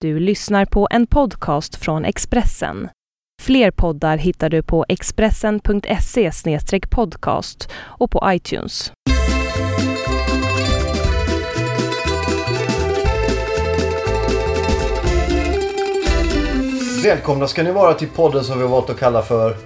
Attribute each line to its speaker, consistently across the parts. Speaker 1: Du lyssnar på en podcast från Expressen. Fler poddar hittar du på expressen.se podcast och på iTunes.
Speaker 2: Välkomna ska ni vara till podden som vi har valt att kalla för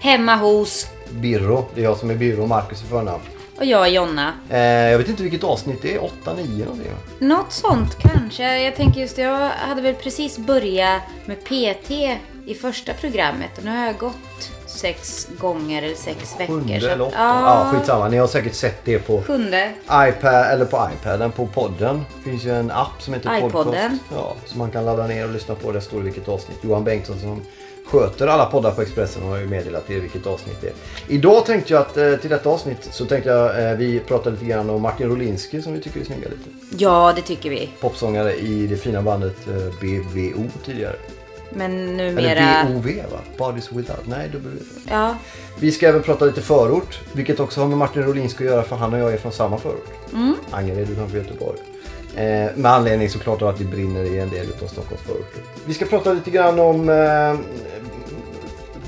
Speaker 3: Hemma hos
Speaker 2: Birro. Det är jag som är Birro och Marcus i förnamn.
Speaker 3: och jag är Jonna.
Speaker 2: Eh, jag vet inte vilket avsnitt det är. 8, 9 någonting va?
Speaker 3: Något sånt kanske. Jag tänker just jag hade väl precis börjat med PT i första programmet och nu har jag gått sex gånger eller sex veckor.
Speaker 2: Sjunde
Speaker 3: så att-
Speaker 2: eller åtta? Ja,
Speaker 3: Ja,
Speaker 2: skitsamma. Ni har säkert sett det på
Speaker 3: sjunde.
Speaker 2: iPad eller på iPaden. På podden finns ju en app som heter
Speaker 3: iPodden.
Speaker 2: Podcast. Ja, som man kan ladda ner och lyssna på. Där står det vilket avsnitt. Johan Bengtsson som sköter alla poddar på Expressen har ju meddelat er vilket avsnitt det är. Idag tänkte jag att eh, till detta avsnitt så tänkte jag eh, vi pratar lite grann om Martin Rolinski som vi tycker är snygga lite.
Speaker 3: Ja, det tycker vi.
Speaker 2: popsångare i det fina bandet eh, BVO tidigare.
Speaker 3: Men
Speaker 2: Eller
Speaker 3: numera...
Speaker 2: BOV va? Bodies Without. Nej, W.
Speaker 3: Ja,
Speaker 2: Vi ska även prata lite förort, vilket också har med Martin Rolinski att göra för han och jag är från samma förort.
Speaker 3: Mm.
Speaker 2: Angered utanför Göteborg. Eh, med anledning såklart av att det brinner i en del av Stockholms förorter. Vi ska prata lite grann om eh,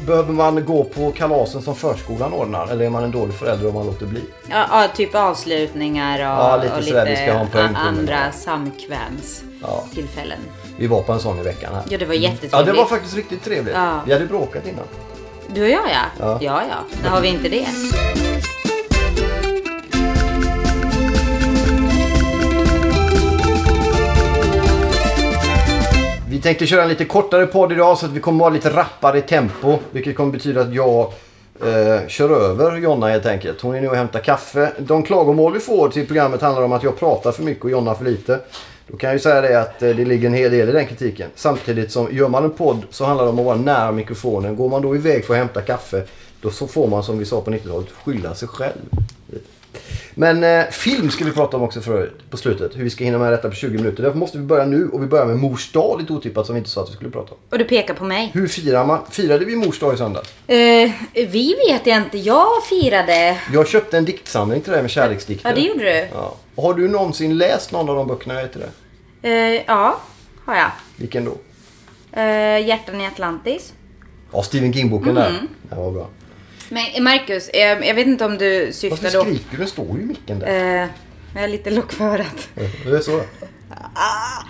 Speaker 2: Behöver man gå på kalasen som förskolan ordnar eller är man en dålig förälder om man låter bli?
Speaker 3: ja, ja, typ avslutningar och,
Speaker 2: Ja, lite
Speaker 3: och
Speaker 2: sådär. Vi ska ha en poäng på det.
Speaker 3: andra samkväms
Speaker 2: Ja.
Speaker 3: tillfällen.
Speaker 2: Vi var på en sån i veckan här.
Speaker 3: Ja, det var jättetrevligt.
Speaker 2: Ja, det var faktiskt riktigt trevligt.
Speaker 3: Ja.
Speaker 2: Vi hade bråkat innan.
Speaker 3: Du och jag ja.
Speaker 2: Ja.
Speaker 3: Ja, ja. När har vi inte det?
Speaker 2: Vi tänkte köra en lite kortare podd idag så att vi kommer vara lite rappare i tempo. Vilket kommer betyda att jag eh, kör över Jonna helt enkelt. Hon är nu och hämtar kaffe. De klagomål vi får till programmet handlar om att jag pratar för mycket och Jonna för lite. Då kan jag ju säga det att eh, det ligger en hel del i den kritiken. Samtidigt som gör man en podd så handlar det om att vara nära mikrofonen. Går man då iväg för att hämta kaffe då så får man som vi sa på 90-talet skylla sig själv. Men eh, film ska vi prata om också för, på slutet. Hur vi ska hinna med detta på 20 minuter. Därför måste vi börja nu och vi börjar med mors dag lite otippat som vi inte sa att vi skulle prata om.
Speaker 3: Och du pekar på mig.
Speaker 2: Hur firar man? Firade vi mors dag i söndags?
Speaker 3: Eh, vi vet jag inte. Jag firade...
Speaker 2: Jag köpte en diktsamling till dig med kärleksdikter.
Speaker 3: Ja, det gjorde du.
Speaker 2: Ja. Har du någonsin läst någon av de böckerna jag till dig?
Speaker 3: Eh, ja, har jag.
Speaker 2: Vilken då?
Speaker 3: Eh, hjärtan i Atlantis.
Speaker 2: Ja, Stephen King-boken där.
Speaker 3: Mm.
Speaker 2: Den var bra.
Speaker 3: Men Marcus, eh, jag vet inte om du
Speaker 2: Varför
Speaker 3: syftar då...
Speaker 2: skriker du? Den står ju i micken där.
Speaker 3: Eh, jag är lite lock för örat.
Speaker 2: Det är så. Ah!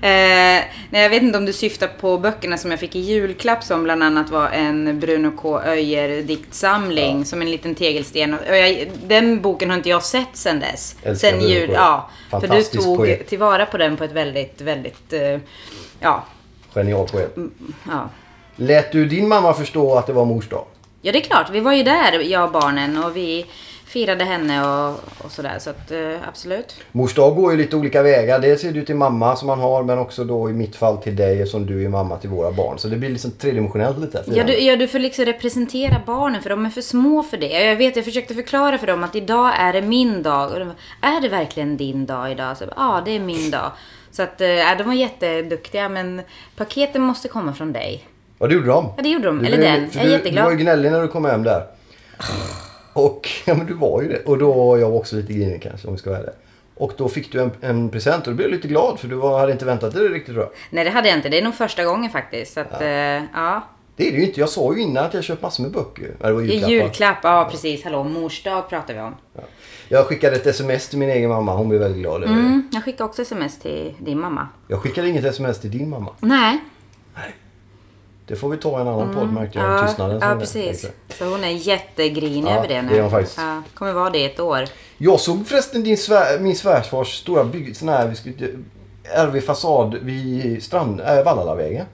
Speaker 3: Eh, nej, jag vet inte om du syftar på böckerna som jag fick i julklapp som bland annat var en Bruno K. Öijer diktsamling som en liten tegelsten. Och jag, den boken har inte jag sett sen dess.
Speaker 2: Älskar
Speaker 3: sen
Speaker 2: Bruno
Speaker 3: jul,
Speaker 2: K.
Speaker 3: ja. För du
Speaker 2: Fantastisk
Speaker 3: tog
Speaker 2: poet.
Speaker 3: tillvara på den på ett väldigt, väldigt, eh, ja,
Speaker 2: Genial poet.
Speaker 3: ja.
Speaker 2: Lät du din mamma förstå att det var mors dag?
Speaker 3: Ja, det är klart. Vi var ju där, jag och barnen, och vi firade henne och, och sådär. Så att, eh, absolut.
Speaker 2: Mors dag går ju lite olika vägar. Dels är det ju till mamma som man har men också då i mitt fall till dig som du är mamma till våra barn. Så det blir liksom tredimensionellt lite.
Speaker 3: Ja du, ja, du får liksom representera barnen för de är för små för det. Jag vet, jag försökte förklara för dem att idag är det min dag. Och de bara, är det verkligen din dag idag? Så, jag bara, ja, det är min dag. Så att, eh, ja, de var jätteduktiga, men paketen måste komma från dig.
Speaker 2: Ja det gjorde de.
Speaker 3: Ja, det gjorde de.
Speaker 2: Du
Speaker 3: Eller
Speaker 2: blev-
Speaker 3: den.
Speaker 2: för
Speaker 3: Jag är
Speaker 2: du, Du
Speaker 3: jätteglad.
Speaker 2: var ju gnällig när du kom hem där. Och, ja men du var ju det. Och då var jag också lite grinig kanske om vi ska vara det. Och då fick du en, en present och du blev lite glad för du var, hade inte väntat dig det riktigt tror jag.
Speaker 3: Nej, det hade jag inte. Det är nog första gången faktiskt. Så att, eh, ja.
Speaker 2: Det är det ju inte. Jag sa ju innan att jag köpt massor med böcker. Ja, det var
Speaker 3: Julklapp,
Speaker 2: julklappar.
Speaker 3: Julklapp, ja precis. Hallå, mors dag pratar vi om.
Speaker 2: Ja. Jag skickade ett sms till min egen mamma. Hon blev väldigt glad över det.
Speaker 3: Mm, jag skickade också sms till din mamma.
Speaker 2: Jag skickade inget sms till din mamma.
Speaker 3: Nej.
Speaker 2: Det får vi ta i en annan podd märkte jag.
Speaker 3: Mm. Ja,
Speaker 2: Tystnaden. som
Speaker 3: ja
Speaker 2: är.
Speaker 3: precis. Så hon är jättegrinig
Speaker 2: Ja,
Speaker 3: över det nu.
Speaker 2: det är hon faktiskt.
Speaker 3: Ja, kommer vara det i ett år.
Speaker 2: Jag såg förresten din svär, min svärfars stora bygg... Sån här, vi skulle, RV Fasad vid strand, äh, Vallalavägen.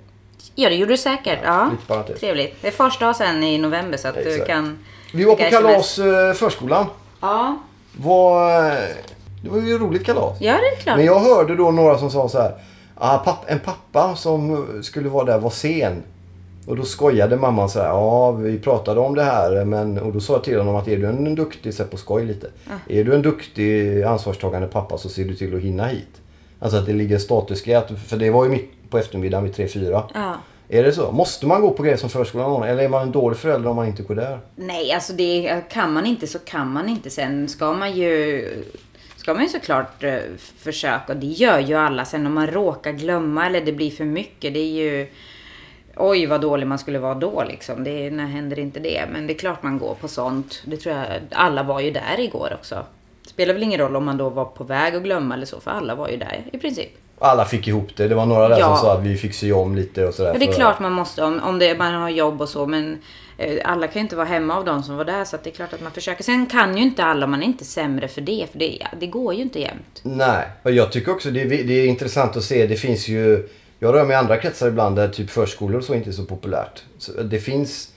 Speaker 3: Ja, det gjorde du säkert. Ja,
Speaker 2: lite parentes.
Speaker 3: Trevligt. Det är första dag sen i november så att du
Speaker 2: Exakt.
Speaker 3: kan...
Speaker 2: Vi var på
Speaker 3: skicka sms.
Speaker 2: kalas eh, förskolan.
Speaker 3: Ja.
Speaker 2: Var, eh, det var ju ett roligt kalas.
Speaker 3: ja, det är klart.
Speaker 2: Men jag hörde då några som sa så här. Ah, papp, en pappa som skulle vara där var sen. Och då skojade mamman så här. Ja, vi pratade om det här. Men, och då sa jag till honom att är du en duktig, så här på skoj lite.
Speaker 3: Ah.
Speaker 2: Är du en duktig ansvarstagande pappa så ser du till att hinna hit. Alltså att det ligger status i att, För det var ju mitt på eftermiddagen vid 3-4.
Speaker 3: Ja.
Speaker 2: Är det så? Måste man gå på grejer som förskolan ordnar? Eller är man en dålig förälder om man inte går där?
Speaker 3: Nej, alltså det kan man inte så kan man inte. Sen ska man ju ska man ju såklart eh, försöka. Och det gör ju alla. Sen om man råkar glömma eller det blir för mycket, det är ju... Oj vad dålig man skulle vara då liksom. Det, när händer inte det? Men det är klart man går på sånt. Det tror jag, alla var ju där igår också. Spelar väl ingen roll om man då var på väg att glömma eller så, för alla var ju där i princip.
Speaker 2: Alla fick ihop det. Det var några där
Speaker 3: Ja.
Speaker 2: som sa att vi fick se om lite och sådär.
Speaker 3: Men det är
Speaker 2: för-
Speaker 3: klart man måste om, om det, man har jobb och så men eh, alla kan ju inte vara hemma av de som var där så att det är klart att man försöker. Sen kan ju inte alla, man är inte sämre för det för det, det går ju inte jämt.
Speaker 2: Nej, och jag tycker också det är, det är intressant att se. Det finns ju... Jag rör mig i andra kretsar ibland där typ förskolor och så inte är så populärt. Så det finns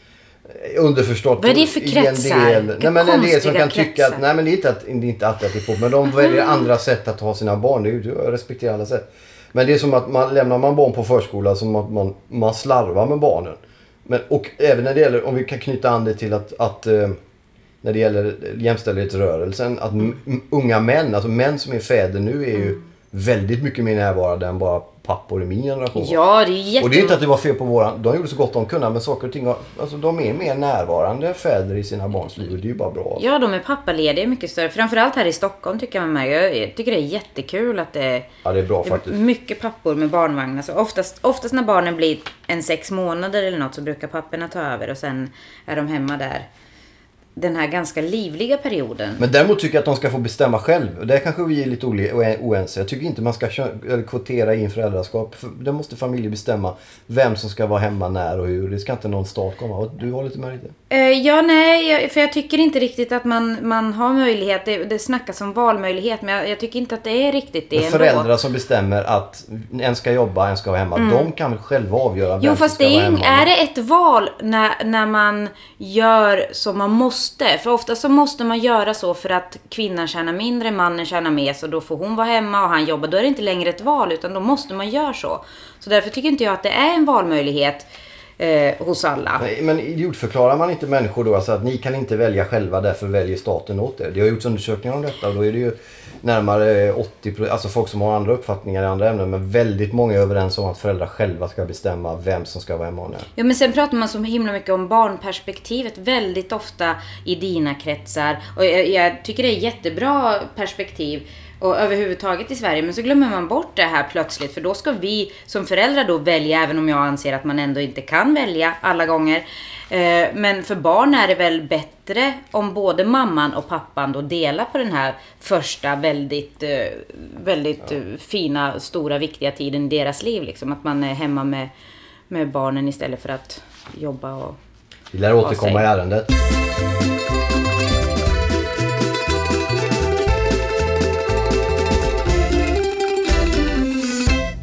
Speaker 2: eh, underförstått...
Speaker 3: Vad är det för
Speaker 2: i en
Speaker 3: kretsar?
Speaker 2: del-
Speaker 3: Vilka
Speaker 2: Nej, men en del som
Speaker 3: konstiga
Speaker 2: kan tycka att...
Speaker 3: kretsar.
Speaker 2: Nej, men det är inte, att, det är inte alltid att det är populärt. Men de väljer
Speaker 3: Mm.
Speaker 2: andra sätt att ha sina barn. Det är, ju- jag respekterar alla sätt. Men det är som att man lämnar man barn på förskola så man, man, man slarvar med barnen. Men, och även när det gäller, om vi kan knyta an det till att, att eh, när det gäller jämställdhetsrörelsen, att
Speaker 3: Mm.
Speaker 2: m- m- unga män, alltså män som är fäder nu är ju väldigt mycket mer närvarande än bara pappor i min generation.
Speaker 3: Ja, det är ju jätte...
Speaker 2: Och det är inte att det var fel på våran, de gjorde så gott de kunde men saker och ting, har- alltså de är mer närvarande fäder i sina barns liv och det är ju bara bra.
Speaker 3: Ja, de är pappalediga är mycket större. Framförallt här i Stockholm tycker jag man märker. Jag tycker det är jättekul att det
Speaker 2: Ja, det är bra
Speaker 3: det är
Speaker 2: faktiskt.
Speaker 3: mycket pappor med barnvagnar. Så oftast, oftast när barnen blir en sex månader eller något så brukar papporna ta över och sen är de hemma där. Den här ganska livliga perioden.
Speaker 2: Men däremot tycker jag att de ska få bestämma själv. Och där kanske vi är lite ole- oe- oense. Jag tycker inte man ska kö- eller kvotera in föräldraskap. För där måste familjer bestämma vem som ska vara hemma när och hur. Det ska inte någon stat komma. Och Du håller inte med lite?
Speaker 3: Eh, ja, nej, jag- för jag tycker inte riktigt att man, man har möjlighet. Det, det snackas om valmöjlighet, men jag, jag tycker inte att det är riktigt det
Speaker 2: Men
Speaker 3: ändå.
Speaker 2: föräldrar som bestämmer att en ska jobba, en ska vara hemma. De kan väl själva avgöra vem
Speaker 3: Mm. Jo,
Speaker 2: som
Speaker 3: fast
Speaker 2: ska
Speaker 3: det
Speaker 2: vara
Speaker 3: är, ju-
Speaker 2: hemma.
Speaker 3: är det ett val när, när man gör som man måste? För ofta så måste man göra så för att kvinnan tjänar mindre, mannen tjänar mer, så då får hon vara hemma och han jobbar. Då är det inte längre ett val, utan då måste man göra så. Så därför tycker inte jag att det är en valmöjlighet eh, hos alla.
Speaker 2: Nej, Men idiotförklarar man inte människor då? Alltså att ni kan inte välja själva, därför väljer staten åt er. Det har gjorts undersökningar om detta och då är det ju närmare 80 alltså folk som har andra uppfattningar i andra ämnen. Men väldigt många är överens om att föräldrar själva ska bestämma vem som ska vara hemma och när.
Speaker 3: Ja men sen pratar man så himla mycket om barnperspektivet väldigt ofta i dina kretsar. Och jag, jag tycker det är jättebra perspektiv och överhuvudtaget i Sverige. Men så glömmer man bort det här plötsligt. För då ska vi som föräldrar då välja, även om jag anser att man ändå inte kan välja alla gånger. Eh, Men för barn är det väl bättre om både mamman och pappan då delar på den här första väldigt, eh, väldigt eh, fina, stora, viktiga tiden i deras liv. Liksom. Att man är hemma med med barnen istället för att jobba och...
Speaker 2: Vi lär återkomma i
Speaker 3: säg.
Speaker 2: ärendet.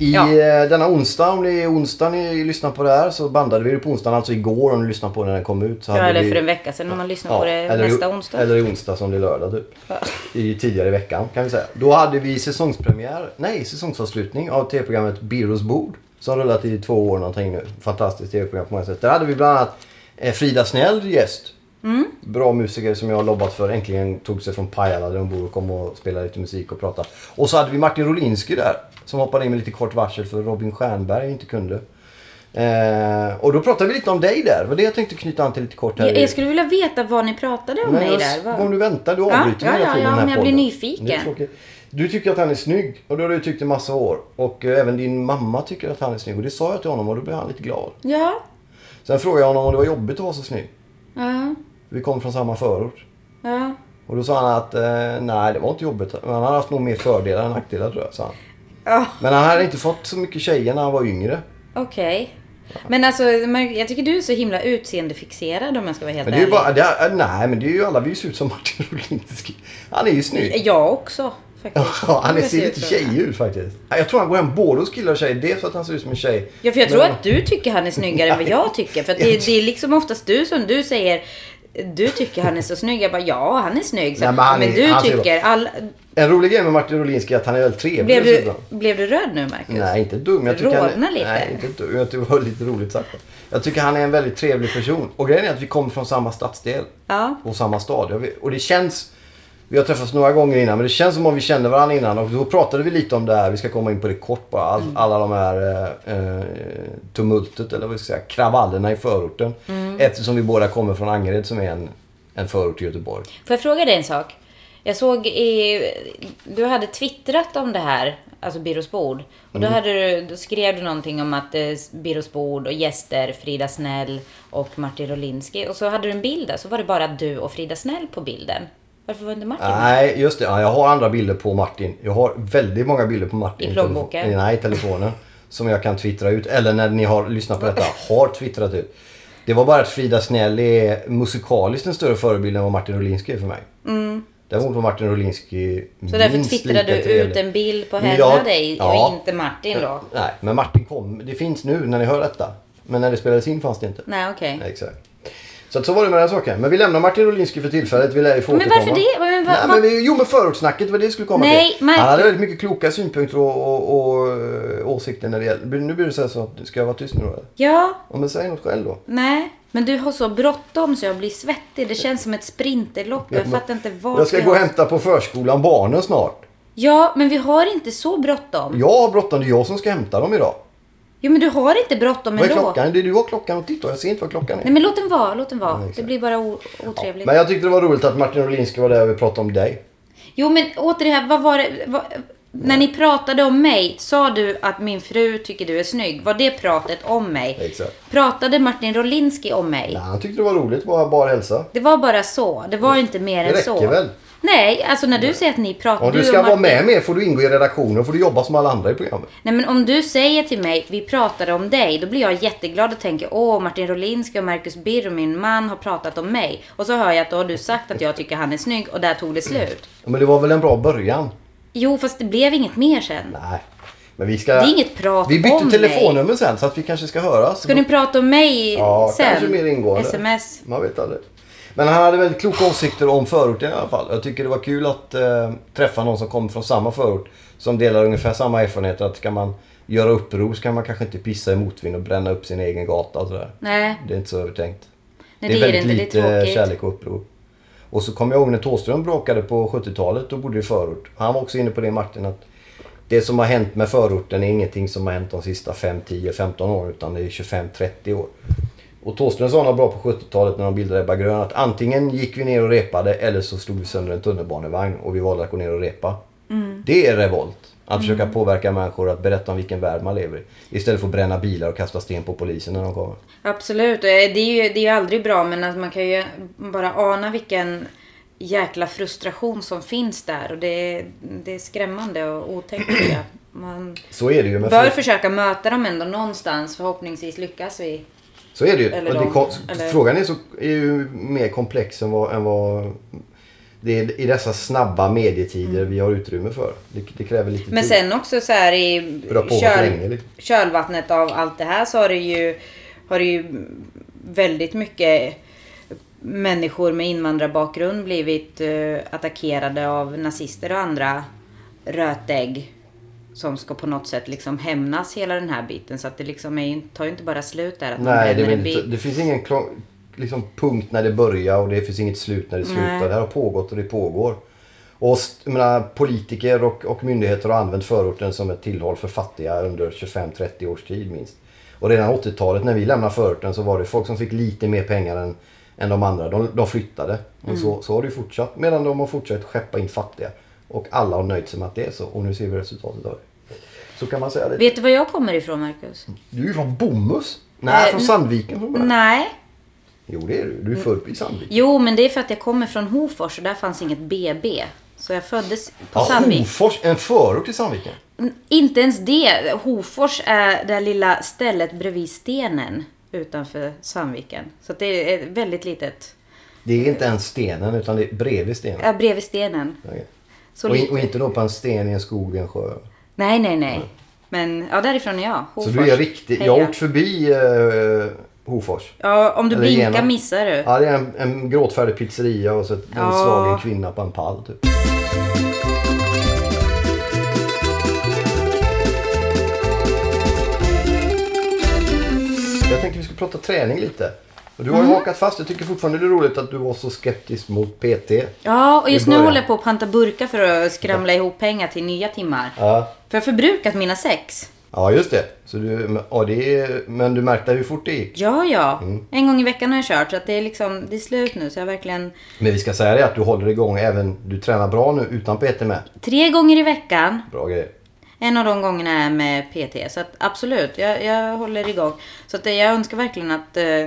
Speaker 2: I
Speaker 3: Ja.
Speaker 2: eh, denna onsdag, om det är onsdag ni lyssnar på det här, så bandade vi det på onsdagen, alltså igår om ni lyssnar på när den kom ut. Så
Speaker 3: Ja,
Speaker 2: hade
Speaker 3: eller
Speaker 2: vi...
Speaker 3: för en vecka sedan om man lyssnar på det
Speaker 2: eller i-
Speaker 3: nästa onsdag.
Speaker 2: Eller i onsdag som det är lördag typ. I, tidigare i veckan kan vi säga. Då hade vi säsongspremiär, nej säsongsavslutning av tv-programmet Birros bord. Som rullat i två år någonting nu. Fantastiskt tv-program på många sätt. Där hade vi bland annat eh, Frida Snell gäst.
Speaker 3: Mm.
Speaker 2: Bra musiker som jag har lobbat för. Äntligen tog sig från Pajala där hon bor och kom och spelade lite musik och pratade. Och så hade vi Martin Rolinski där. Som hoppade in med lite kort varsel för Robin Stjernberg inte kunde. Eh, och då pratade vi lite om dig där. Det var det jag tänkte knyta an till lite kort här.
Speaker 3: Jag,
Speaker 2: i-
Speaker 3: jag skulle vilja veta vad ni pratade om
Speaker 2: men
Speaker 3: mig
Speaker 2: jag,
Speaker 3: där. Vad-
Speaker 2: Om du väntar, du
Speaker 3: Ja,
Speaker 2: avbryter
Speaker 3: ja,
Speaker 2: hela
Speaker 3: ja,
Speaker 2: tiden
Speaker 3: ja,
Speaker 2: den här
Speaker 3: men jag blir
Speaker 2: podden.
Speaker 3: nyfiken.
Speaker 2: Det är tråkigt. Du tycker att han är snygg och det har du tyckt i massa år. Och eh, även din mamma tycker att han är snygg. Och det sa jag till honom och då blev han lite glad.
Speaker 3: Ja,
Speaker 2: Sen frågade jag honom om det var jobbigt att vara så snygg.
Speaker 3: ja,
Speaker 2: Vi kom från samma förort.
Speaker 3: ja.
Speaker 2: Och då sa han att eh, nej, det var inte jobbigt. Men han hade haft nog mer fördelar än nackdelar tror jag, sa han.
Speaker 3: ja.
Speaker 2: Men han hade inte fått så mycket tjejer när han var yngre.
Speaker 3: Okej. Men alltså, man- jag tycker du är så himla utseendefixerad om jag ska vara helt
Speaker 2: Men det är ju
Speaker 3: ärlig.
Speaker 2: bara, det är, eh, nej men det är ju alla, vi ser ut som Martin Rolinski. Han är ju snygg.
Speaker 3: Jag också faktiskt.
Speaker 2: Ja, han
Speaker 3: Jag
Speaker 2: ser
Speaker 3: ut
Speaker 2: lite
Speaker 3: som-
Speaker 2: tjejig ut faktiskt. Ja, Jag tror han går hem både hos killar och tjejer. Dels för att han ser ut som en tjej.
Speaker 3: Ja, för jag tror
Speaker 2: men-
Speaker 3: att du tycker han är snyggare än vad jag tycker. För att det, det är liksom oftast du som du säger, du tycker han är så snygg. Jag bara, ja han är snygg. Så,
Speaker 2: Nej, men
Speaker 3: men,
Speaker 2: han är-
Speaker 3: du
Speaker 2: han ser bra.
Speaker 3: tycker, all,
Speaker 2: En rolig grej med Martin Rolinski är att han är väldigt trevlig
Speaker 3: blev, du,
Speaker 2: dessutom.
Speaker 3: blev du röd nu Marcus?
Speaker 2: Nej, inte dum. Jag tycker
Speaker 3: Rodna
Speaker 2: han,
Speaker 3: lite.
Speaker 2: Nej, inte dum. Jag tycker det var lite roligt sagt. Jag tycker han är en väldigt trevlig person. Och grejen är att vi kommer från samma stadsdel.
Speaker 3: Ja.
Speaker 2: Och samma stad. Jag vet- Och det känns... Vi har träffats några gånger innan men det känns som om vi känner varandra innan. Och då pratade vi lite om det här. Vi ska komma in på det kort bara. All, Alla de här eh, eh, tumultet eller vad vi ska säga. Kravallerna i förorten. Eftersom vi båda kommer från Angered som är en, en förort i Göteborg.
Speaker 3: Får jag fråga dig en sak? Eh, Jag såg i... Du hade twittrat om det här, alltså Birros bord. Och då,
Speaker 2: Mm.
Speaker 3: hade du, då skrev du någonting om att eh, Birros bord och gäster, Frida Snell och Martin Rolinski. Och så hade du en bild där, så var det bara du och Frida Snell på bilden. Varför var inte Martin med?
Speaker 2: Nej, just det. Ja, jag har andra bilder på Martin. Jag har väldigt många bilder på Martin.
Speaker 3: I plånboken?
Speaker 2: Telefon- Nej, i telefonen. Som jag kan twittra ut. Eller när ni har lyssnat på detta, har twittrat ut. Det var bara att Frida Snell är musikaliskt en större förebild än vad Martin Rolinski är för mig. Däremot var Martin Rolinski
Speaker 3: Mm. Så därför twittrade du ut en bild på henne
Speaker 2: Ja,
Speaker 3: och dig
Speaker 2: ja.
Speaker 3: och inte Martin då?
Speaker 2: Nej, men Martin kom. Det finns nu när ni hör detta. Men när det spelades in fanns det inte.
Speaker 3: Nej, okej.
Speaker 2: Exakt. Så att så var det med den saken. Men vi lämnar Martin Rolinski för tillfället. Vi lär ju få
Speaker 3: Men
Speaker 2: återkomma.
Speaker 3: varför det? Men va-
Speaker 2: Nej,
Speaker 3: va-
Speaker 2: men vi, jo men förortssnacket det var det jag skulle komma
Speaker 3: Nej,
Speaker 2: till.
Speaker 3: Martin-
Speaker 2: Han hade väldigt mycket kloka synpunkter och, och, och eh, åsikter när det gäller. Nu blir det så här så att, ska jag vara tyst nu då? eller?
Speaker 3: Ja,
Speaker 2: Ja, men säg något själv då.
Speaker 3: nej. Men du har så bråttom så jag blir svettig. Det känns som ett sprinterlopp. Jag fattar inte vart
Speaker 2: Jag ska
Speaker 3: vi
Speaker 2: gå och
Speaker 3: har-
Speaker 2: hämta på förskolan barnen snart.
Speaker 3: Ja, men vi har inte så bråttom.
Speaker 2: Jag har bråttom, det är jag som ska hämta dem idag.
Speaker 3: Jo, men du har inte bråttom
Speaker 2: vad är
Speaker 3: ändå.
Speaker 2: klockan? Det är du har klockan och titta jag ser inte vad klockan är.
Speaker 3: Nej, men låt den vara. Låt den vara.
Speaker 2: exakt.
Speaker 3: det blir bara o- otrevligt.
Speaker 2: Men jag tyckte det var roligt att Martin Rolinski var där och vi pratade om dig.
Speaker 3: Jo, men återigen, vad var det... Vad... När ni pratade om mig, sa du att min fru tycker du är snygg? Var det pratet om mig?
Speaker 2: Exakt.
Speaker 3: Pratade Martin Rolinski om mig?
Speaker 2: Nej, han tyckte det var roligt, bara, bara hälsa.
Speaker 3: Det var bara så. Det var inte mer
Speaker 2: Det
Speaker 3: än
Speaker 2: räcker
Speaker 3: så.
Speaker 2: väl?
Speaker 3: Nej, alltså när du säger att ni pratar...
Speaker 2: Om du
Speaker 3: och
Speaker 2: ska vara
Speaker 3: Martin-
Speaker 2: med mer får du ingå i redaktionen och får du jobba som alla andra i programmet.
Speaker 3: Nej men om du säger till mig, vi pratade om dig, då blir jag jätteglad och tänker, åh Martin Rolinski och Marcus Birro, min man, har pratat om mig. Och så hör jag att då har du sagt att jag tycker han är snygg och där tog det slut.
Speaker 2: Ja, Men det var väl en bra början?
Speaker 3: Jo, fast det blev inget mer sen.
Speaker 2: Nej. Men vi ska...
Speaker 3: Det är inget prat
Speaker 2: Vi bytte
Speaker 3: om mig.
Speaker 2: telefonnummer sen så att vi kanske ska höras.
Speaker 3: Ska ni prata om mig
Speaker 2: ja,
Speaker 3: sen?
Speaker 2: kanske mer ingående.
Speaker 3: Sms.
Speaker 2: Man vet aldrig. Men han hade väldigt kloka åsikter om förorten i alla fall. Jag tycker det var kul att eh, träffa någon som kommer från samma förort. Som delar ungefär samma erfarenheter. Att ska man göra uppror så kan man kanske inte pissa i motvind och bränna upp sin egen gata och sådär.
Speaker 3: Nej,
Speaker 2: Det är inte så övertänkt.
Speaker 3: Nej, det är det
Speaker 2: väldigt
Speaker 3: inte. Det är
Speaker 2: lite
Speaker 3: tråkigt.
Speaker 2: kärlek och uppror. Och så kommer jag ihåg när Thåström bråkade på 70-talet. Då bodde i förort. Han var också inne på det Martin att det som har hänt med förorten är ingenting som har hänt de sista 5, 10, 15 åren utan det är 25, 30 år. Och Thåström sa något bra på 70-talet när de bildade Ebba Grön att antingen gick vi ner och repade eller så slog vi sönder en tunnelbanevagn och vi valde att gå ner och repa.
Speaker 3: Mm.
Speaker 2: Det är revolt. Att försöka påverka människor att berätta om vilken värld man lever i. Istället för att bränna bilar och kasta sten på polisen när de kommer.
Speaker 3: absolut. Och, eh, Det är ju, det är ju aldrig bra, men att man kan ju bara ana vilken jäkla frustration som finns där. Och det är, det är skrämmande och otäckt tycker jag. Man...
Speaker 2: Så är det ju. Men
Speaker 3: bör
Speaker 2: för-
Speaker 3: försöka möta dem ändå någonstans. Förhoppningsvis lyckas vi.
Speaker 2: Så är det ju.
Speaker 3: Eller
Speaker 2: Och det
Speaker 3: de-
Speaker 2: kom,
Speaker 3: eller-
Speaker 2: Frågan är, så, är ju mer komplex än vad, än vad det är i dessa snabba medietider vi har utrymme för. Det, det kräver lite
Speaker 3: Mm. Men
Speaker 2: tid.
Speaker 3: sen också så här i
Speaker 2: För det har pågått
Speaker 3: köl,
Speaker 2: länge, liksom.
Speaker 3: kölvattnet av allt det här så har det ju, har det ju väldigt mycket människor med invandrarbakgrund blivit eh, attackerade av nazister och andra rötägg som ska på något sätt liksom hämnas hela den här biten. Så att det liksom är, ju- tar ju inte bara slut där att man
Speaker 2: Nej, det, är
Speaker 3: bränner
Speaker 2: väl
Speaker 3: en
Speaker 2: inte,
Speaker 3: bil.
Speaker 2: det finns ingen klar- liksom, punkt när det börjar och det finns inget slut när det slutar.
Speaker 3: Nej.
Speaker 2: Det här har pågått och det pågår. Och st- jag menar, politiker och, och myndigheter har använt förorten som ett tillhåll för fattiga under 25-30 års tid minst. Och redan 80-talet när vi lämnade förorten så var det folk som fick lite mer pengar än, än de andra. De, de flyttade. Och
Speaker 3: Mm.
Speaker 2: så, så har det ju fortsatt. Medan de har fortsatt skeppa in fattiga. Och alla har nöjt sig med att det är så. Och nu ser vi resultatet av det. Så kan man säga det.
Speaker 3: Vet du var jag kommer ifrån Marcus?
Speaker 2: Du är ju från Bomhus. Nej,
Speaker 3: Eh,
Speaker 2: från Sandviken från början.
Speaker 3: Nej.
Speaker 2: Jo det är du.
Speaker 3: Mm.
Speaker 2: Du är född i Sandviken.
Speaker 3: Jo, men det är för att jag kommer från Hofors och där fanns inget BB. Så jag föddes
Speaker 2: Ah,
Speaker 3: på Sandvik.
Speaker 2: Hofors, en förort till Sandviken.
Speaker 3: N- Inte ens det. Hofors är det lilla stället bredvid stenen utanför Sandviken. Så att det är väldigt litet.
Speaker 2: Det är inte ens stenen utan det är bredvid stenen.
Speaker 3: Ja, bredvid stenen.
Speaker 2: Okej.
Speaker 3: Så
Speaker 2: och, in,
Speaker 3: lite.
Speaker 2: och inte då på en sten i en skog vid en sjö.
Speaker 3: Nej, nej, nej. Men ja, därifrån är jag. Hofors.
Speaker 2: Så du är riktig. Jag har
Speaker 3: Heja.
Speaker 2: åkt förbi eh, Hofors.
Speaker 3: Ja, om du
Speaker 2: Eller
Speaker 3: blinkar
Speaker 2: genom.
Speaker 3: missar du.
Speaker 2: Ja, det är en, en gråtfärdig pizzeria och så ett- en
Speaker 3: Ja.
Speaker 2: slagen kvinna på en pall typ. Jag tänkte vi skulle prata träning lite. Och du har ju hakat fast. Jag tycker fortfarande det är roligt att du var så skeptisk mot PT.
Speaker 3: Ja, och just
Speaker 2: I
Speaker 3: nu
Speaker 2: början.
Speaker 3: håller jag på att panta burkar för att skramla ihop pengar till nya timmar.
Speaker 2: Ja.
Speaker 3: För jag har förbrukat mina sex.
Speaker 2: Ja, just det. Så du, ja, det är, men du märkte hur fort det gick.
Speaker 3: Ja, ja.
Speaker 2: Mm.
Speaker 3: En gång i veckan har jag kört så att det är liksom, det är slut nu så jag har verkligen
Speaker 2: Men vi ska säga det att du håller igång även, du tränar bra nu utan PT med.
Speaker 3: tre gånger i veckan.
Speaker 2: Bra grej.
Speaker 3: En av de gångerna är med PT. Så att absolut, jag, jag håller igång. Så att eh, jag önskar verkligen att, eh,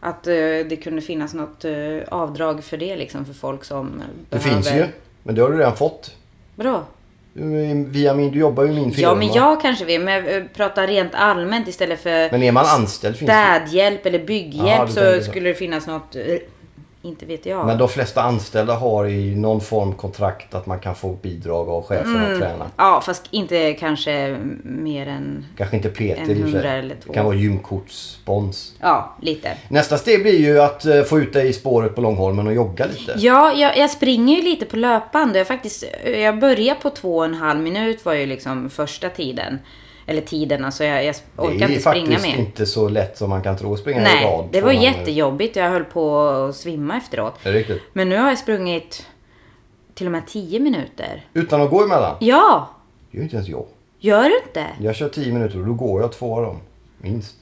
Speaker 3: att eh, det kunde finnas något eh, avdrag för det liksom för folk som
Speaker 2: Det
Speaker 3: behöver.
Speaker 2: finns ju, men det har du redan fått.
Speaker 3: Bra.
Speaker 2: Du, är- via min, du jobbar ju i min firma.
Speaker 3: Ja, men jag kanske vill. Men jag eh, pratar rent allmänt istället för
Speaker 2: Men är man anställd finns det.
Speaker 3: städhjälp eller
Speaker 2: Ja,
Speaker 3: bygghjälp
Speaker 2: du tänker
Speaker 3: så
Speaker 2: så.
Speaker 3: skulle det finnas något. eh, Inte vet jag.
Speaker 2: Men de flesta anställda har i någon form kontrakt att man kan få bidrag av chefen
Speaker 3: Mm.
Speaker 2: att träna.
Speaker 3: Ja, fast inte kanske mer än...
Speaker 2: Kanske inte PT i och
Speaker 3: En
Speaker 2: för sig.
Speaker 3: hundra eller två.
Speaker 2: Det kan vara gymkortsspons.
Speaker 3: Ja, lite.
Speaker 2: Nästa steg blir ju att eh, få ut dig i spåret på Långholmen och jogga lite.
Speaker 3: Ja, jag, jag springer ju lite på löpande. Jag, faktiskt, jag började på två och en halv minut var ju liksom första tiden. Eller tiden, alltså jag, jag
Speaker 2: det
Speaker 3: orkar
Speaker 2: är
Speaker 3: inte springa
Speaker 2: faktiskt
Speaker 3: mer.
Speaker 2: inte så lätt som man kan tro att springa i
Speaker 3: Nej,
Speaker 2: rad.
Speaker 3: det var
Speaker 2: från-
Speaker 3: jättejobbigt. Jag höll på att svimma efteråt.
Speaker 2: Det är riktigt.
Speaker 3: Men nu har jag sprungit till och med tio minuter.
Speaker 2: Utan att gå emellan.
Speaker 3: Ja,
Speaker 2: Det är ju inte ens jag.
Speaker 3: gör du inte?
Speaker 2: Jag kör 10 minuter och då går jag två av dem. Minst.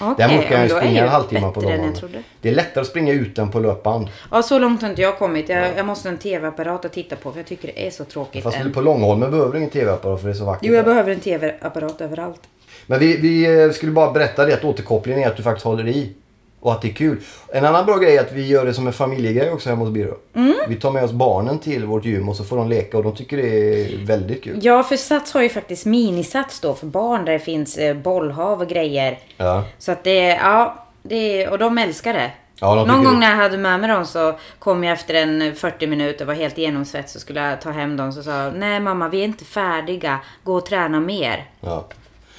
Speaker 3: Okej,
Speaker 2: Däremot kan
Speaker 3: ja,
Speaker 2: jag
Speaker 3: då
Speaker 2: ju
Speaker 3: är
Speaker 2: springa
Speaker 3: jag
Speaker 2: en halvtimme på
Speaker 3: bättre än jag
Speaker 2: Långholmen.
Speaker 3: trodde.
Speaker 2: Det är lättare att springa ut än på löpband.
Speaker 3: Ja, så långt har inte jag kommit. Jag, jag måste ha en TV-apparat att titta på för jag tycker det är så tråkigt.
Speaker 2: Fast
Speaker 3: än.
Speaker 2: på Långholmen behöver du ingen TV-apparat för det är så vackert.
Speaker 3: Jo, jag
Speaker 2: där.
Speaker 3: behöver en TV-apparat överallt.
Speaker 2: Men vi, vi eh, skulle bara berätta det att återkopplingen är att du faktiskt håller i. Och att det är kul. En annan bra grej är att vi gör det som en familjegrej också hemma hos Birro.
Speaker 3: Mm.
Speaker 2: Vi tar med oss barnen till vårt gym och så får de leka och de tycker det är väldigt kul.
Speaker 3: Ja, för Sats har ju faktiskt minisats då för barn där det finns eh, bollhav och grejer.
Speaker 2: Ja.
Speaker 3: Så att det, ja, det, och de älskar det.
Speaker 2: Ja, de
Speaker 3: Någon
Speaker 2: tycker
Speaker 3: gång
Speaker 2: det.
Speaker 3: när jag hade med mig dem så kom jag efter en 40 minuter och var helt genomsvett så skulle jag ta hem dem så sa jag, nej mamma vi är inte färdiga, gå och träna mer.
Speaker 2: Ja.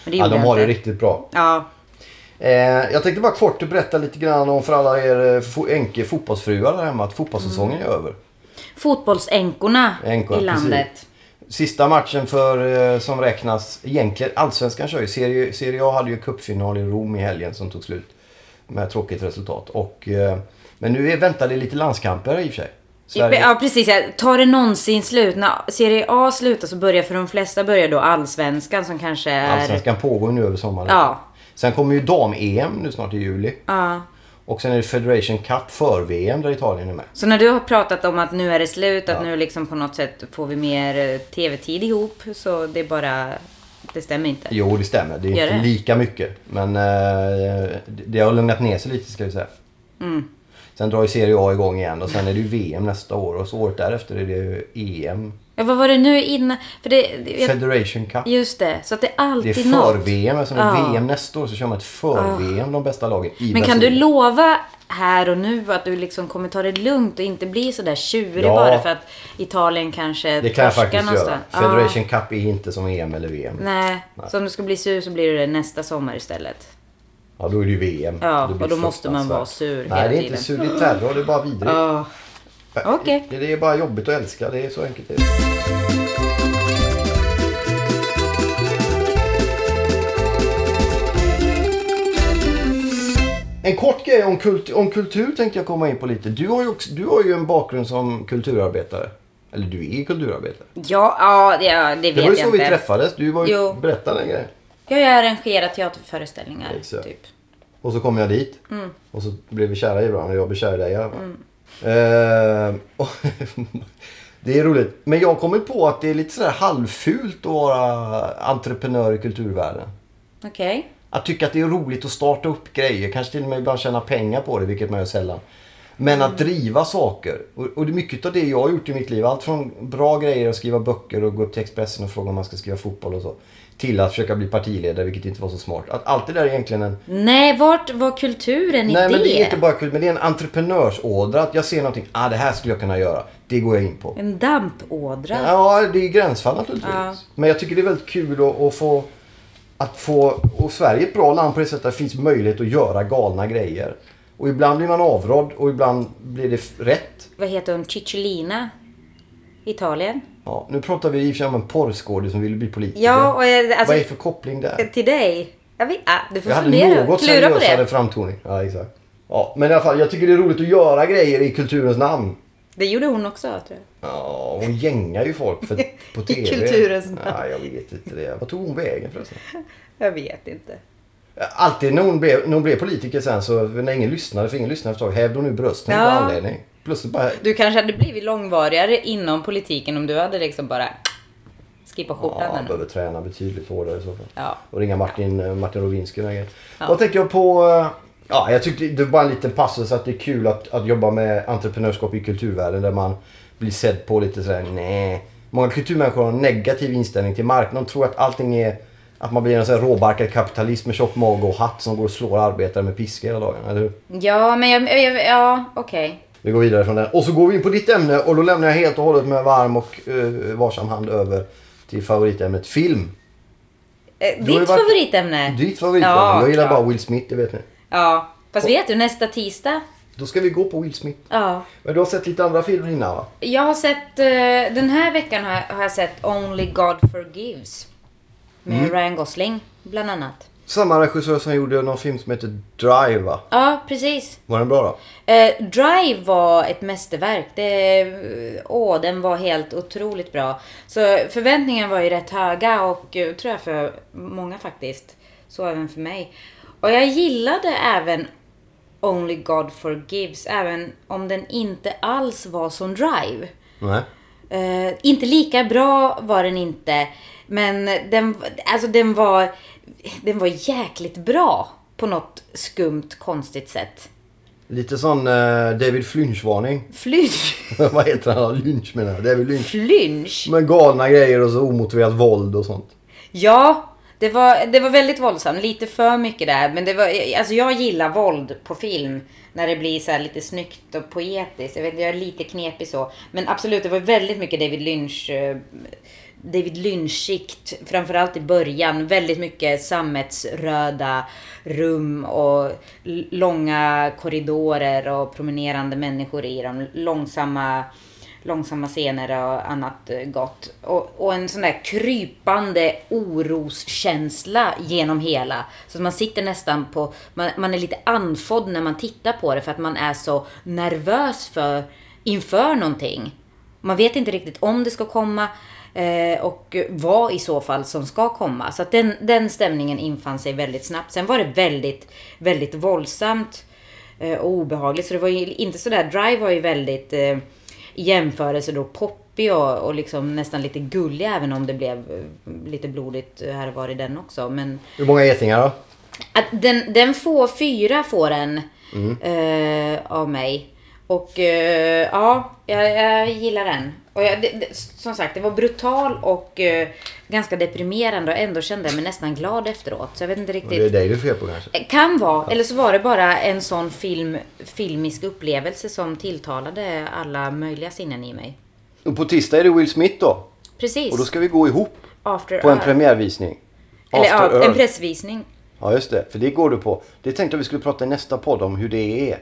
Speaker 3: Men det
Speaker 2: ja,
Speaker 3: gjorde
Speaker 2: de
Speaker 3: jag
Speaker 2: har det
Speaker 3: inte.
Speaker 2: riktigt bra.
Speaker 3: Ja,
Speaker 2: Eh, jag tänkte bara kort berätta lite grann om för alla er eh, fo- änke fotbollsfruar där hemma att fotbollssäsongen
Speaker 3: Mm.
Speaker 2: är över.
Speaker 3: fotbollsänkorna
Speaker 2: Änkorna,
Speaker 3: i landet.
Speaker 2: Sista matchen för, eh, som räknas egentligen, Allsvenskan kör ju. Serie, Serie A hade ju cupfinal i Rom i helgen som tog slut. Med tråkigt resultat. Och, eh, men nu är, väntar det lite landskamper i och för sig. Sverige,
Speaker 3: Ja precis, ja. tar det någonsin slut? När Serie A slutar så börjar för de flesta börjar då allsvenskan som kanske är...
Speaker 2: Allsvenskan pågår nu över sommaren.
Speaker 3: Ja.
Speaker 2: Sen kommer ju dam-EM nu snart i juli.
Speaker 3: Ja.
Speaker 2: Och sen är det Federation Cup för-VM där Italien är med.
Speaker 3: Så när du har pratat om att nu är det slut, att nu liksom på något sätt får vi mer eh, tv-tid ihop, så det är bara... Det stämmer inte.
Speaker 2: Jo, det stämmer. Det är
Speaker 3: Gör
Speaker 2: inte
Speaker 3: det?
Speaker 2: lika mycket. Men eh, det har lugnat ner sig lite ska vi säga.
Speaker 3: Mm.
Speaker 2: Sen drar ju Serie A igång igen och sen är det ju VM nästa år och så året därefter är det ju EM.
Speaker 3: Ja, vad var det nu innan? För det... det- Jag,
Speaker 2: Federation Cup.
Speaker 3: just det, så att det är
Speaker 2: Det är alltså
Speaker 3: alltid något.
Speaker 2: för-VM. Eftersom det är
Speaker 3: Ja.
Speaker 2: VM nästa år så kör man ett för-VM de bästa lagen i
Speaker 3: Men kan du
Speaker 2: Brasilien.
Speaker 3: lova här och nu att du liksom kommer ta det lugnt och inte bli så där tjurig
Speaker 2: Ja.
Speaker 3: bara för att Italien kanske
Speaker 2: Det kan jag
Speaker 3: torskar
Speaker 2: faktiskt göra.
Speaker 3: någonstans? Ja.
Speaker 2: Federation Cup är inte som EM eller VM.
Speaker 3: Nej, så om du ska bli sur så blir du det nästa sommar istället.
Speaker 2: Ja, då är det ju VM.
Speaker 3: Ja,
Speaker 2: Det blir
Speaker 3: och då måste man vara sur
Speaker 2: fruktansvärt. Nej,
Speaker 3: hela
Speaker 2: det är inte
Speaker 3: tiden.
Speaker 2: sur. Det är terror. Det är bara vidrigt. Äh,
Speaker 3: Ja. Okej.
Speaker 2: Det, det är bara jobbigt att älska. Det är så enkelt det är. En kort grej om, kult, om kultur tänkte jag komma in på lite. Du har, ju också, du har ju en bakgrund som kulturarbetare. Eller du är kulturarbetare.
Speaker 3: Ja, ja, det, ja, det vet
Speaker 2: Det
Speaker 3: jag
Speaker 2: var ju
Speaker 3: inte.
Speaker 2: så vi träffades. Du var ju,
Speaker 3: Jo.
Speaker 2: berättade en grej.
Speaker 3: Jag har arrangerat teaterföreställningar.
Speaker 2: Exakt.
Speaker 3: Typ.
Speaker 2: Och så kom jag dit. Och så blev vi kära i varandra. Jag blev kär i dig. i alla fall. Eh, och det är roligt. Men jag har kommit på att det är lite sådär halvfult att vara entreprenör i kulturvärlden.
Speaker 3: Okej.
Speaker 2: Att tycka att det är roligt att starta upp grejer. Kanske till och med ibland tjäna pengar på det, vilket man gör sällan. Men att driva saker. Och, och det är mycket av det jag har gjort i mitt liv. Allt från bra grejer, att skriva böcker och gå upp till Expressen och fråga om man ska skriva fotboll och så. Till att försöka bli partiledare, vilket inte var så smart. Att allt det där är egentligen en
Speaker 3: Nej, vart var kulturen i
Speaker 2: Nej,
Speaker 3: det?
Speaker 2: men det är inte bara kul, men det är en entreprenörsådra. Att jag ser någonting, ah det här skulle jag kunna göra. Det går jag in på.
Speaker 3: En dampådra.
Speaker 2: Ja, det är gränsfall naturligtvis.
Speaker 3: Ja.
Speaker 2: Men jag tycker det är väldigt kul att, att få... Att få... Och Sverige är ett bra land på det sättet att det finns möjlighet att göra galna grejer. Och ibland blir man avrådd och ibland blir det f- rätt.
Speaker 3: Vad heter hon? Cicciolina? Italien?
Speaker 2: Ja, nu pratar vi i och för sig om en porrskådis som ville bli politiker.
Speaker 3: Ja, och jag- alltså-
Speaker 2: Vad är det för koppling där?
Speaker 3: Till dig? Jag vet, ah, du får
Speaker 2: Jag hade
Speaker 3: fundera.
Speaker 2: något
Speaker 3: Klura på
Speaker 2: seriösare
Speaker 3: det.
Speaker 2: framtoning. Ja, exakt. Ja, men i alla fall, jag tycker det är roligt att göra grejer i kulturens namn.
Speaker 3: Det gjorde hon också tror jag.
Speaker 2: Ja, hon gängar ju folk för, på TV.
Speaker 3: kulturens namn.
Speaker 2: Ja, jag vet inte det. Vad tog hon vägen förresten?
Speaker 3: Jag vet inte.
Speaker 2: Alltid när hon, blev, när hon blev politiker sen så när ingen lyssnade, för ingen lyssnade förstås, hävde hon ur brösten
Speaker 3: Ja.
Speaker 2: utan anledning. Plötsligt bara...
Speaker 3: Du kanske hade blivit långvarigare inom politiken om du hade liksom bara skippat
Speaker 2: Ja,
Speaker 3: skjortan. Ja,
Speaker 2: behöver träna betydligt hårdare i så fall.
Speaker 3: ja.
Speaker 2: Och ringa Martin, eh, Martin Roginski och den här grejen. Vad tänkte jag på? eh, Ja, jag tyckte det var bara en liten passus att det är kul att, att jobba med entreprenörskap i kulturvärlden där man blir sedd på lite sådär nej. Många kulturmänniskor har en negativ inställning till marknaden. De tror att allting är att man blir en sån här råbarkad kapitalist med tjock mage och hatt som går och slår arbetare med piska hela dagen. Eller hur?
Speaker 3: ja men jag, jag, ja, okej.
Speaker 2: Vi går vidare från den. Och så går vi in på ditt ämne och då lämnar jag helt och hållet med varm och eh, varsam hand över till favoritämnet film.
Speaker 3: Eh,
Speaker 2: Då är det
Speaker 3: Ditt
Speaker 2: bara-
Speaker 3: favoritämne?
Speaker 2: Ditt favoritämne.
Speaker 3: Ja,
Speaker 2: jag gillar
Speaker 3: klart.
Speaker 2: bara Will Smith, det vet ni.
Speaker 3: Ja, fast vet du nästa tisdag?
Speaker 2: Då ska vi gå på Will Smith.
Speaker 3: Ja.
Speaker 2: Men du har sett lite andra filmer innan va?
Speaker 3: Jag har sett, eh, den här veckan har jag, har jag sett Only God Forgives. Med Ryan Gosling bland annat.
Speaker 2: Samma regissör som gjorde någon film som heter Drive va?
Speaker 3: Ja, precis.
Speaker 2: Var den bra då?
Speaker 3: Eh, Drive var ett mästerverk. Det, åh, den var helt otroligt bra. Så förväntningen var ju rätt höga och eh, tror jag för många faktiskt. Så även för mig. Och jag gillade även Only God Forgives, även om den inte alls var som Drive.
Speaker 2: Nej.
Speaker 3: Eh, inte lika bra var den inte. Men den, alltså den, var, den var jäkligt bra på något skumt, konstigt sätt.
Speaker 2: Lite sån eh, David Flynch-varning.
Speaker 3: Flynch.
Speaker 2: Vad heter han? Lynch menar jag. David Lynch.
Speaker 3: Flynch?
Speaker 2: Med galna grejer och så omotiverat våld och sånt.
Speaker 3: Ja, det var, det var väldigt våldsamt. Lite för mycket där. Men det var, alltså jag gillar våld på film. När det blir så här lite snyggt och poetiskt. Jag vet inte, jag är lite knepig så. Men absolut, det var väldigt mycket David Lynch. eh, David Lynch-sikt, framförallt i början. Väldigt mycket sammetsröda rum och l- långa korridorer och promenerande människor i dem. Långsamma långsamma scener och annat eh, gott. Och, och en sån där krypande oroskänsla genom hela. Så att man sitter nästan på, man, man är lite andfådd när man tittar på det för att man är så nervös för, inför någonting. Man vet inte riktigt om det ska komma eh, och vad i så fall som ska komma. Så att den, den stämningen infann sig väldigt snabbt. Sen var det väldigt, väldigt våldsamt eh, och obehagligt. Så det var ju inte sådär, Drive var ju väldigt eh, i jämförelse då poppig och, och liksom nästan lite gullig även om det blev eh, lite blodigt här och var i den också. Men
Speaker 2: Hur många getingar då?
Speaker 3: att den, den får fyra får den eh, av mig. Och eh, ja, jag, jag gillar den. Och jag, det, det, som sagt, det var brutal och eh, ganska deprimerande och ändå kände jag mig nästan glad efteråt. Så jag vet inte
Speaker 2: Och Det är
Speaker 3: riktigt.
Speaker 2: dig det är fel på kanske.
Speaker 3: Eh, Kan vara, eller så var det bara en sån film, filmisk upplevelse som tilltalade alla möjliga sinnen i mig.
Speaker 2: Och på tisdag är det Will Smith då.
Speaker 3: Precis.
Speaker 2: Och då ska vi gå ihop
Speaker 3: After
Speaker 2: på en
Speaker 3: Earth.
Speaker 2: premiärvisning.
Speaker 3: Eller
Speaker 2: After
Speaker 3: ja, en
Speaker 2: Earth.
Speaker 3: pressvisning.
Speaker 2: Ja just det, för det går du på. Det tänkte jag vi skulle prata i nästa podd om hur det är.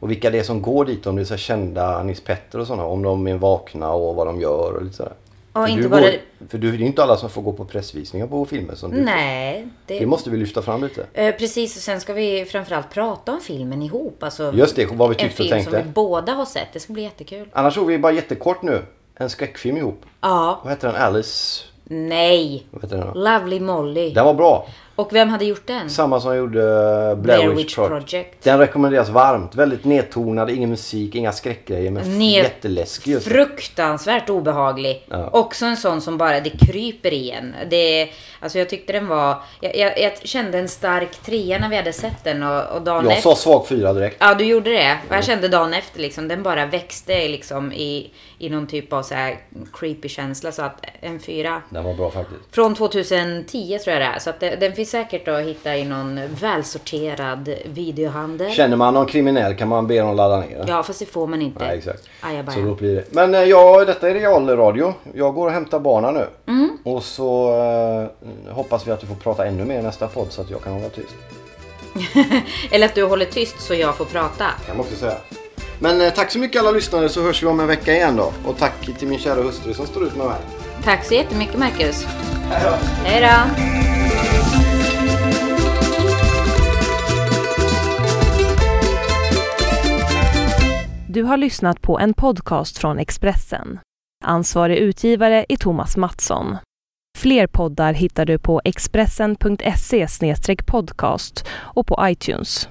Speaker 2: Och vilka det är som går dit, om det är så här kända Nils Petter och sådana. Om de är vakna och vad de gör och lite sådär.
Speaker 3: Ja,
Speaker 2: för
Speaker 3: inte
Speaker 2: du
Speaker 3: bara-
Speaker 2: går, För du, det är ju inte alla som får gå på pressvisningar på filmer som du.
Speaker 3: Nej,
Speaker 2: Det måste vi lyfta fram lite.
Speaker 3: Eh, precis, och sen ska vi framförallt prata om filmen ihop. Alltså,
Speaker 2: Just det, vad vi tyckte
Speaker 3: En
Speaker 2: och
Speaker 3: film
Speaker 2: tänkte.
Speaker 3: som vi båda har sett. Det ska bli jättekul.
Speaker 2: Annars såg vi bara jättekort nu. En skräckfilm ihop.
Speaker 3: Ja.
Speaker 2: Vad heter den? Alice?
Speaker 3: Nej.
Speaker 2: Vad heter den? då?
Speaker 3: Lovely Molly.
Speaker 2: Den var bra.
Speaker 3: Och vem hade gjort den?
Speaker 2: Samma som gjorde eh, Blair,
Speaker 3: Blair
Speaker 2: Witch,
Speaker 3: Witch
Speaker 2: Project.
Speaker 3: Project.
Speaker 2: Den rekommenderas varmt. Väldigt nedtonad, ingen musik, inga skräckgrejer. Men
Speaker 3: Ned-
Speaker 2: jätteläskig just
Speaker 3: Fruktansvärt obehaglig.
Speaker 2: Ja.
Speaker 3: Också en sån som bara, det kryper igen. Det, alltså jag tyckte den var, jag, jag, jag kände en stark trea när vi hade sett den och, och dagen
Speaker 2: Jag
Speaker 3: efter.
Speaker 2: sa Mm. svag fyra direkt.
Speaker 3: Ja, du gjorde det. Och jag kände dagen efter liksom, den bara växte liksom i, i någon typ av så här creepy känsla. Så att en fyra,
Speaker 2: Den var bra faktiskt.
Speaker 3: Från 2010 tror jag det är. Så att det, den finns säkert att hitta i någon välsorterad videohandel.
Speaker 2: Känner man någon kriminell kan man be dem ladda ner den.
Speaker 3: Ja, fast det får man inte.
Speaker 2: Nej, exakt.
Speaker 3: Ajabaja.
Speaker 2: Så då blir det. Men eh, ja, detta är real radio. Jag går och hämtar barnen nu. Och så eh, hoppas vi att du får prata ännu mer i nästa podd så att jag kan hålla tyst.
Speaker 3: Eller att du håller tyst så jag får prata.
Speaker 2: kan man också säga. Men eh, tack så mycket alla lyssnare så hörs vi om en vecka igen då. Och tack till min kära hustru som står ut med mig.
Speaker 3: Tack så jättemycket Marcus. Hej då.
Speaker 1: Du har lyssnat på en podcast från Expressen. Ansvarig utgivare är Thomas Mattsson. Fler poddar hittar du på expressen.se podcast och på iTunes.